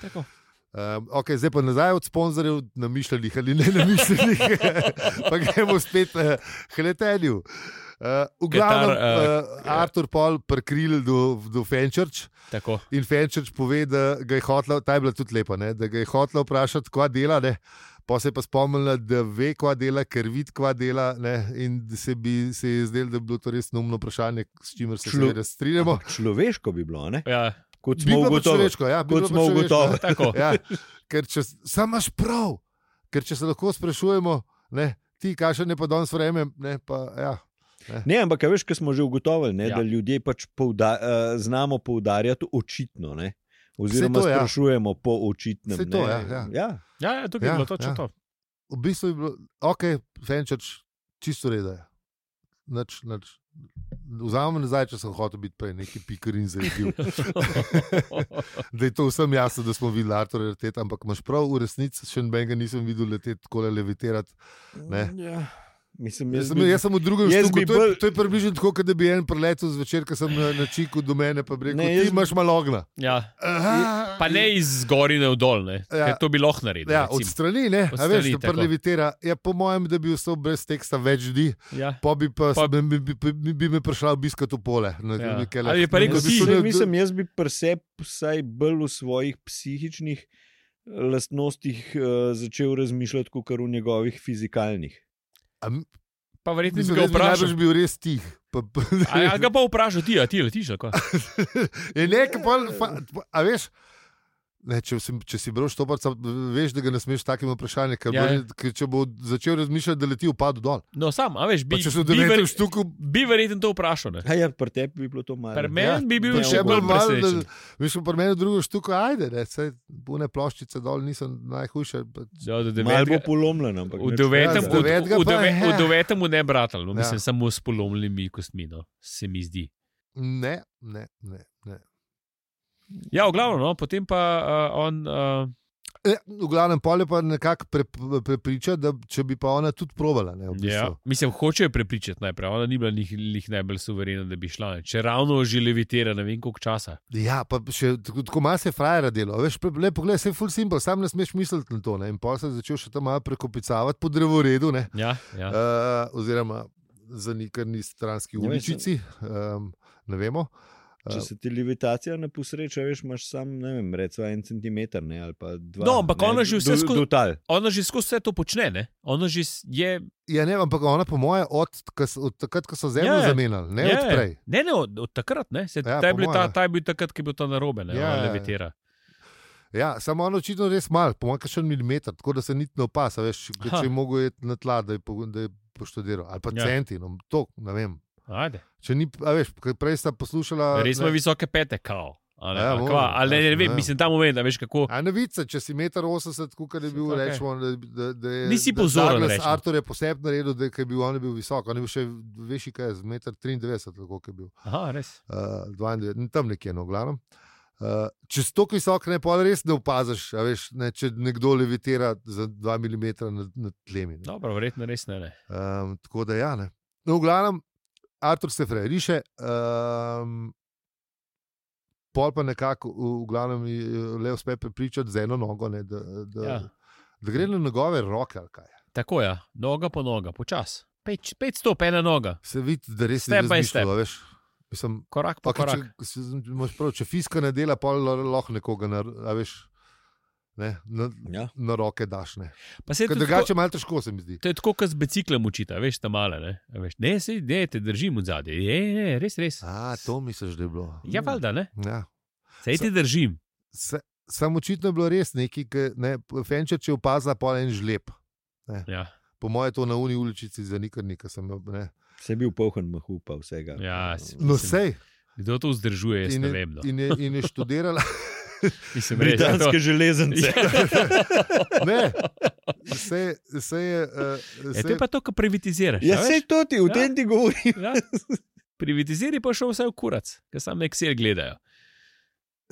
C: Tako.
B: Um, okay, zdaj pa nazaj od sponzorjev, namišljenih ali ne namišljenih, pa gremo spet uh, k letenju. Uh, v glavnem,
C: Katar, eh,
B: uh, Artur Paul prekril do, do Fenčerč
C: Tako.
B: in Fenčerč pove, da ga je hotla, ta je bila tudi lepa, ne, da ga je hotla vprašati, kva dela, ne. pa se je pa spomnila, da ve, kva dela, ker vidi, kva dela ne, in da se, bi, se je zdelo, da je bilo to res neumno vprašanje, s čimer se
A: Šlo-
B: Člo... strinjamo.
A: Človeško bi bilo, ne?
C: Ja,
A: kot
B: Bi
A: smo
B: bilo pa
A: ugotovili.
B: človeško, ja, bi
A: Kot
B: bilo pa
A: smo
B: človeško, ja.
A: ugotovili.
C: tako.
B: Ja, ker če samaš prav, ker če se lahko sprašujemo, ne, ti kaže ne pa danes vreme, ne pa ja.
A: Ne, ampak a veš, kar smo že ugotovili, ne, ja.
C: Ja.
A: da ljudje pač pouda, uh, znamo poudarjati očitno. Ne? Oziroma,
B: to,
A: to,
B: ja.
A: ja. sprašujemo po očitnem.
B: Saj to,
A: ne.
B: ja, ja.
A: Ja,
C: Ja, ja, tukaj je
B: Ja,
C: bilo točno
B: ja.
C: to.
B: V bistvu je bilo, ok, Fenčerč, čisto reda je. Nač, nač. Vzamem nazaj, če sem hotel biti prej neki pikarin zaredil. Da je to vsem jasno, da smo videli Artur leteti, ampak imaš prav, v resnici še nobenega nisem videl leteti tako levitirati. Ne.
A: ja. Mislim,
B: Jaz
A: jaz
B: sem,
A: bi-
B: jaz sem v drugem
A: jaz
B: štuku,
A: bi
B: to, je,
A: bolj-
B: to je približno tako, kot da bi en preletel zvečer, ko sem na, na čiku do mene, pa bi rekel,
A: Ne,
B: ne,
A: jaz
B: ti
A: bi-
B: imaš malo ognja.
C: Ja.
B: Aha.
C: Pa ne iz gori na dol, ne.
B: Ja.
C: Ja. to bi lahko naredil.
B: Ja, od
C: recimo.
B: strani, ne,
C: Od
B: od strani, veš,
C: strani,
B: da
C: tako.
B: prelevitira. Ja, po mojem, da bi ostal brez teksta več ljudi,
C: ja.
B: pa bi, pa,
C: Pa-
B: pa... Bi, bi, bi, bi me prišla obiskat v pole. Na,
C: Ja.
B: nekele,
C: Ali je pa rekel,
A: jaz,
C: ti-
B: bi šel
A: saj
B: na-
A: mislim, jaz bi preseb vsaj bolj v svojih psihičnih eh, lastnostih uh, začel razmišljati kot kar v njegovih fizikalnih.
B: A m-
C: Pa verjetno bi
B: Mislim,
C: ga
B: da bi najbrž
C: vprašal.
B: bil res tih. Pa, pa,
C: A ja, ga pa vprašal ti, a ti letiš, ali kaj?
B: je nekaj, pa, pa, pa, a veš. Ne, če, si, če si broš toparca, veš, da ga ne smeš takim vprašanjem, ker,
C: Ja,
B: ja,
C: ja.
B: ker če bo začel razmišljati, da leti v padu dol.
C: No, sam, a veš,
B: Pa
C: bi,
B: če so
C: bi, ver,
B: devetih štukov,
C: bi verjetno to vprašal. Ne?
A: A ja, pri tebi bi bilo to malo.
C: Pri meni bi bil
A: Ja,
C: še
A: bo
C: bolj
A: malo,
C: presenečen.
B: Veš, pa meni drugo štuko, ajde, ne, saj bune ploščice dol niso najhujše. pa-
C: Ja,
A: Malo
C: do
A: bo
C: devetega-
A: polomljen, ampak
C: V
A: nič
C: devetem,
A: takega.
B: Ja, z
C: v,
B: devetega
C: v,
B: pa
C: deve,
B: je.
C: v devetem mu ne bratal, no,
B: Ja.
C: mislim, samo s polomljenimi kostmi, no, se mi zdi.
B: Ne, ne, ne. ne.
C: Ja, v glavnem, no, potem pa uh, eh, on, uh,
B: E, v glavnem pol je pa nekako pre, prepriča, da če bi pa ona tudi provala. Ne, v bistvu.
C: Ja. Mislim, hočejo prepričati najprej. Ona ni bila njih, njih najbolj suverena, da bi šla. ne. Če ravno že levitira, ne vem koliko časa.
B: Ja, pa še tako, tako malo se je frajera delo. Veš, pre- le poglej, se je full simple, sam ne smeš misliti na to. Ne? In pa se je začel še tam malo prekopicavati po drevoredu, ne?
C: Ja, ja.
B: uh, oziroma zanikani stranski
A: Ne veš,
B: uličici, um, ne vemo. Eh,
A: Če se ti levitacija ne posreča, veš, imaš sam, ne vem, recimo en centimeter ne, ali pa dva.
C: No, ampak
A: ne,
C: ona že vse
A: do-
C: skozi-
A: Do tal.
C: Ona že skozi vse to počne, ne? Ona že s- je.
B: Ja, ne, ampak ona, po moje, od, kas- od takrat, ko so zemljo
C: Ja,
B: yeah. zamenjali, ne
C: je,
B: yeah. odprej.
C: Ne, ne, od, od takrat, ne. Se,
B: Ja,
C: ja, ta, je
B: po
C: bil ta,
B: moje.
C: ta je bil takrat, ki je bil ta narobe, ne.
B: Ja,
C: Ja,
B: ja, ja.
C: levitira.
B: Ja, samo ono očitno res malo, po mojem, še en milimeter, tako da se niti ne opasa. Veš, da
C: Ha.
B: če je mogel iti na tla, da je, po- da je poštudiral. Ali pa
C: Ja.
B: yeah. centinom, to ne vem.
C: Ajde.
B: Če ni, a veš, ker prej sta poslušala.
C: Res smo
B: Eh, ne,
C: visoke pete, kao. Ali,
B: Ja,
C: ja,
B: moram,
C: kva, ali ne, ne
B: jasno,
C: vem,
B: ja.
C: mislim, ta moment, a veš kako.
B: A ne vice, če si 1,80 m, kot je bil
C: Okej.
B: okay. rečemo, da, da, da je.
C: Nisi pozoren,
B: Da Douglas
C: recimo.
B: Arthur je posebno naredil, da je bil on je bil visok, on je bil še večji, kaj je, 1,93 m, kot je bil.
C: Aha, res.
B: Uh, 92, tam nekje, no, glavno. Uh, če si tako visok, ne pa res ne opaziš, a veš, ne, če nekdo levitira za 2 mm nad, nad tlemi. ne.
C: Dobro, verjetno res ne. ne.
B: Um, tako da, ja, ne. No, v glavnem, Artur se fraj riše, um, pol pa nekako, v- v glavnem, ji, eh, le uspe prepričati z eno nogo, ne, da, da,
C: Ja.
B: ja. da gre na njegove roke. ali kaj.
C: Tako je, ja. noga po noga, počasi. Pet, pet stop, ena noga,
B: Se vidi, da res
C: Step
B: ne
C: by step.
B: razmišljajo, veš. Mislim,
C: korak po
B: okay,
C: korak.
B: če, se- imaš prav, če fiska ne dela, pol lo- lahko nekoga na, a veš, ne, na,
A: Ja.
B: na roke daš. Ne.
C: Pa se je
B: Ker
C: tudi tako-
B: drugače je malo težko, se mi zdi.
C: To je tako, kot z biciklom učita, veš, tam male. Ne, A veš, ne, sej, ne te držim od zadaj. Je, je, res, res.
B: A, to misliš, da je bilo.
C: Ja, valjda, ne.
B: Ja.
C: Sej te držim.
B: se, sam očitno je bilo res nekaj, ki ne, Fenčer, če opazila, pa en žlep.
C: Ja,
B: Po mojem, to na uni uličici za nikarnika sem jo. Ne.
A: Se je bil poln mahu, pa vsega.
C: ja, s-
B: No,
C: mislim,
B: sej.
C: Kdo to vzdržuje, jaz
B: In,
C: ne
B: je-
C: vem. No.
B: in, je, in je študirala.
C: Mislim, res, da to, Ja.
A: Britanske železnice.
B: ne, sej, sej je. Uh,
C: je, to je Ja, pa to, kar privatiziraš.
A: Ja,
C: a veš?
A: se to ti, o
C: Ja.
A: tem ti govorim.
C: Ja. Privatiziraj pa še vse v kurac, ker sam nek sir gledajo.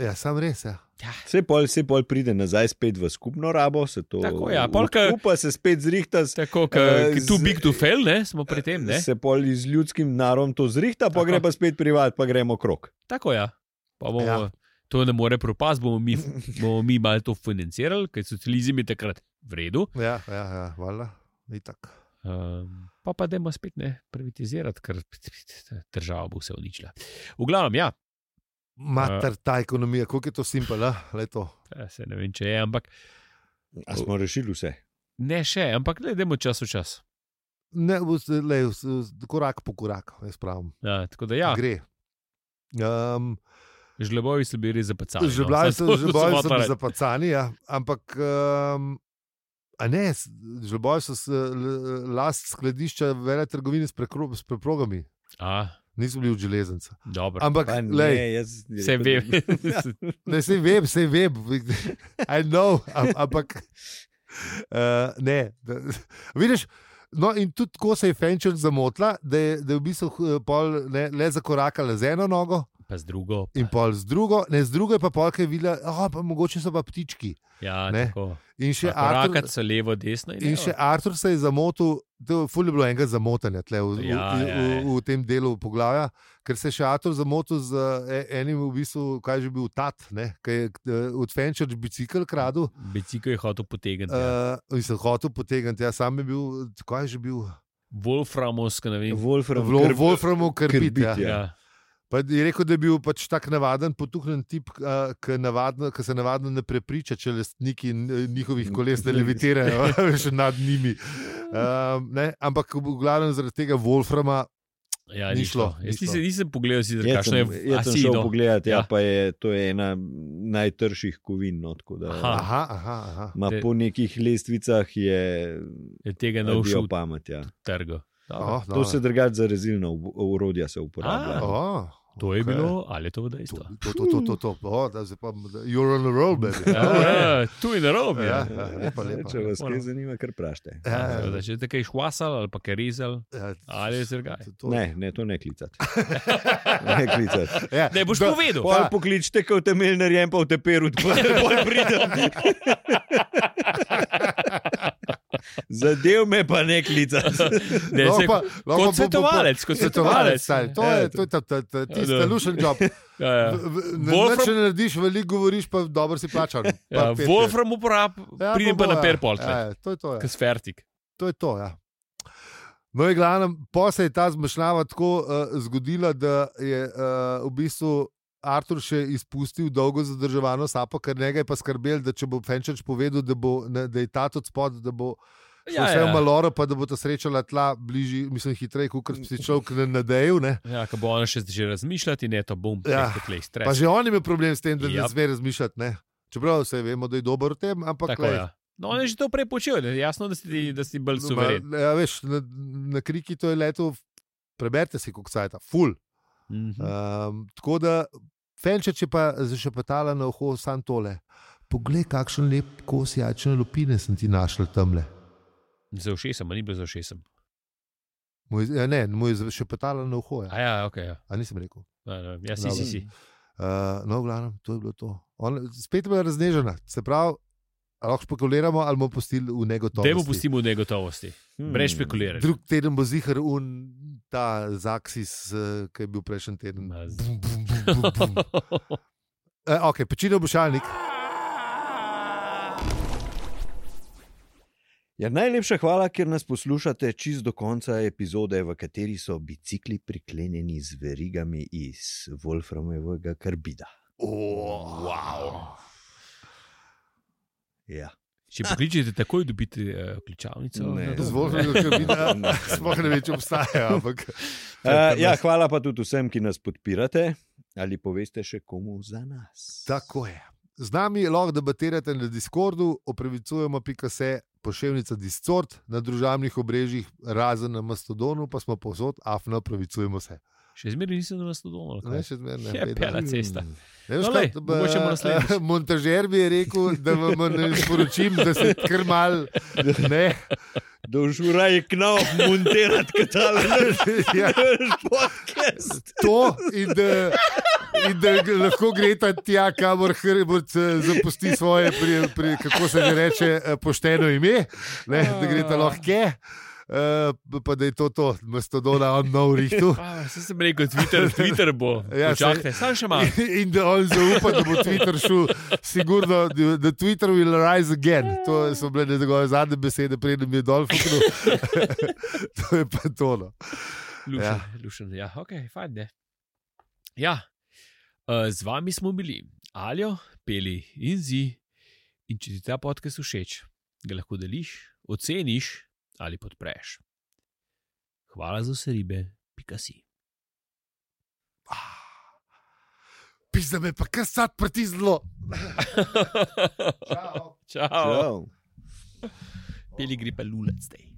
B: ja, sam res. Ja.
A: Vse pol, vse pol pride nazaj spet v skupno rabo, se to
C: Tako, ja, pol, ke-
A: Upa se spet zrihta, s-
C: Tako,
A: Eh,
C: ki tu
A: z-
C: big to fail, ne, smo pri tem. Ne?
A: se pol z ljudskim narom to zrihta, pa
C: Tako.
A: gre pa spet privat, pa gremo krok.
C: Tako ja. Pa bomo, ja.
B: Ja.
C: To ne more propasti, bomo mi, bomo mi malo to financirali, ker socializem je takrat v redu.
B: Ja, ja, ja, valjda. Itak.
C: Um, pa pa dajmo spet ne privatizirati, ker država bo vse uničila. V glavnem, ja,
B: Mater, ta ekonomija, koliko je to simpel, le to.
C: eh, se ne vem, če je, ampak
A: A smo rešili vse.
C: ne še, ampak ne, dajmo čas v čas.
B: Ne, vse- lej, vse- korak po korak, jaz pravim.
C: Ja, tako da, ja,
B: Gre. Um,
C: žlebovi so bili res zapacani.
B: Že bili so,
C: Samo to
B: že
C: sem
B: bili so
C: hotel
B: bili
C: reči.
B: zapacani, ja. ampak um, ne, s- že bili so s- l- last skladišča vele trgovine s, prekro, s preprogami,
C: A,
B: niso bili od železnice.
C: dobro.
B: Ampak,
A: Pa
B: lej,
A: ne, jaz,
C: Se ve.
B: ne, sej vem, sej vem, I know, am- ampak uh, ne. Da, vidiš, no in tudi tako se je Fenčer zamotila, da je, da je v bistvu eh, pol, ne, le zakorakala z eno nogo
C: Pa z drugo.
B: in
C: Pa,
B: pol z drugo, ne z drugo je pa pol, ki je videla, oh, pa mogoče so pa ptički.
C: ja,
B: ne.
C: tako.
B: In še Artur,
C: Rakat so levo, desno in,
B: In še Artur se je zamotil, to ful je bilo enega zamotanja tle v, ja, v,
C: Ja, ja,
B: v,
C: ja.
B: v tem delu poglavja, ker se je še Artur zamotil z eh, enim, v bistvu, kaj je že bil tat, ne, ki je eh, od Fenčer bicikl kradel.
C: Bicikl je hotel potegniti. Uh,
B: Uh, in sem hotel potegniti, jaz sam je bil, kaj je že bil,
C: Wolframovska, ne vem.
A: Wolfram,
B: Vlo,
A: krv-
B: Wolframov krbit.
A: krbit,
B: Ja.
A: ja.
C: Ja.
B: Pa je rekel, da je bil pač tak navaden, potuhnjen tip, eh, ki navadno- ki se navadno ne prepriča, če lastniki eh, njihovih koles ne levitirajo, še nad njimi. Um, ne? Ampak v glavnem zaradi tega Wolframa,
C: Ja,
B: Ni
C: ni
B: šlo,
C: šlo.
B: ni
C: Jaz
B: šlo.
C: nisem, nisem pogledal, si,
A: Jaz
C: kakšno
A: sem,
C: je
A: jaz sem šel
C: asido.
A: pogledat, ja,
C: Ja.
A: ja. pa je to je ena najtrših kovin. No, tako da,
C: Aha.
B: aha, aha, aha.
A: Ma
C: Te-
A: po nekih lestvicah je
C: Je tega ne
A: naučil
C: ušel
A: pamet. Ja.
C: trgo. Dobro.
B: Oh,
A: No, To se drugače za rezilna ob- orodja se uporablja.
C: A.
A: Ja.
B: oh,
C: To je
B: Okej.
C: bilo, ali je to
B: To,
C: dejstvo.
B: to, to, to, to, to. O, da se pa, you're on the roll, baby.
C: Ja, tu in narobe.
B: Ja,
C: Ja.
B: ja, lepa, lepa.
A: Če vas
C: Ono.
A: kaj zanima, kar vprašajte.
B: Ja, ja.
C: Ja, če ste kaj švasali ali pa kaj rezali,
B: Ja,
C: ali je zrgaj.
B: to- to-
A: Ne, ne, to ne klicati. Ne klicati.
B: Ja,
C: Ne boš
B: da-
C: povedal.
A: Pol pokličite, ko te mil narejem, pa v te peru, pa ne bolj pridem. Zadev me pa ne klicati.
C: Ne,
B: Lahko
C: se,
B: no, pa- lahko
C: kot
B: pa-
C: svetovalec, kot svetovalec.
B: stari, To
A: Ja,
B: je
A: to-
B: to je ta- ta- ta- tisti
C: Ja, da.
B: lušen job.
C: Ja, ja. Wolfram-
B: Če ne narediš, veliko govoriš, pa dobro si plačan. Pa
C: Ja,
B: pet-
C: Wolfram uporab,
B: Ja,
C: pridem pa
B: bo,
C: na
B: ja.
C: perpolt,
B: Ja, ja, to je to. Ja.
C: ki je sfertik.
B: To je to, ja. No, in glavno, posebej je ta zmešnjava tako uh, zgodila, da je uh, v bistvu Artur še izpustil dolgo zadrževano sapo, ker njega je pa skrbel, da če bo Fenčerč povedal, da, bo, ne, da je ta od spod, da bo ja,
C: Ja,
B: vse ja. v
C: ja.
B: maloro, pa da bo ta srečala tla bližje, mislim, hitreje, kot si človek na- nadejal. Ne?
C: Ja, ki bo ona še že razmišljati, ne to bom,
B: Ja.
C: ja. tleh stres.
B: Pa že on je imel problem s tem, da ne
C: Jap.
B: sme razmišljati. Ne? Čeprav vse vemo, da je dober v tem, ampak
C: Tako,
B: glej,
C: ja. No, on je že to prej počel, ne? jasno, da si, ti- da si bolj
B: Ma,
C: suveren.
B: Ja, veš, na, na kriki to je leto, preberite si, kako cajt, ful.
C: Mhm.
B: Um, tako da Fenčeč je pa zašepetala na oho sam tole. Poglej, kakšen lep kos jačne lupine sem ti našla tamle.
C: Za ušesom, a ni bilo za ušesom.
B: Mu je- Ja, ne, mu je zašepetala na oho.
C: A
B: Ja.
C: ja, ok. Ja,
B: A nisem rekel.
C: ja, ja, ja si,
B: Mm.
C: si, si.
B: Uh, no, v glavnem, to je bilo to. On, spet je bila raznežena, se pravi, a lahko špekuliramo ali bomo pustili v negotovosti.
C: Dajmo pustimo v negotovosti, brez špekuliranja.
B: Drug teden bo zihar un ta Zaksis, eh, ki je bil prejšnji teden.
C: Ma z-
B: Bum, bum, bum, bum, bum. Eh, ok, pečino bošalnik.
A: Ja, najlepša hvala, ker nas poslušate čist do konca epizode, v kateri so bicikli priklenjeni z verigami iz Wolframevega karbida.
B: Oh, wow.
A: Ja.
C: Če pokličete, takoj dobite uh, ključavnico.
A: Ne.
C: na dom.
B: Zvolno, da bi da sploh ne več obstaja. Ampak,
A: Uh, ja, hvala pa tudi vsem, ki nas podpirate ali poveste še komu za nas.
B: tako je. Z nami lahko debatirate na Discordu, opravičujemo pika se pošiljka Discord, na družabnih obrežjih, razen na Mastodonu, pa smo povsod, afno opravičujemo se.
C: Še zmeraj nisem na nas doma.
B: Ne, še zmeraj ne.
C: Je
B: beda.
C: pela cesta.
B: Ne veš,
C: No,
B: kaj,
C: lej,
B: b-
C: mogoče bomo naslednjič.
B: eh, Montažer bi rekel, da vam ne sporočim, da se kar mal. Ne,
A: Dožuraj k nam, montirati kataloge,
B: ja,
A: podcast.
B: to in da, in da g- lahko greta tja, kamor Hrbert eh, zapusti svoje, pri, pri, kako se že reče, eh, pošteno ime, ne, da greta lahke. Uh, pa da je to, to mastodona, on no nov rihtu.
C: Sem Ah, sem rekel, Twitter, Twitter bo.
B: Ja,
C: Ja,
B: saj-
C: Čakajte, sam še malo.
B: In da on zaupa, da bo Twitter šel, sigurno, da da Twitter will rise again. To so bile njegove zadnje besede, preden je dol fuknil. to no. je pa tono.
C: Lušen,
B: Ja.
C: ja. lušen. Ja, ok, fajn. Ne? Ja, uh, z vami smo bili, alijo, peli in zi. In če ti ta podcast všeč, ga lahko deliš, oceniš ali podpreš. Hvala za vse ribe, pika si.
B: Pisa me pa kar sad prti zlo. Čau.
C: Čau. Čau. Peli gre pa lulac zdaj.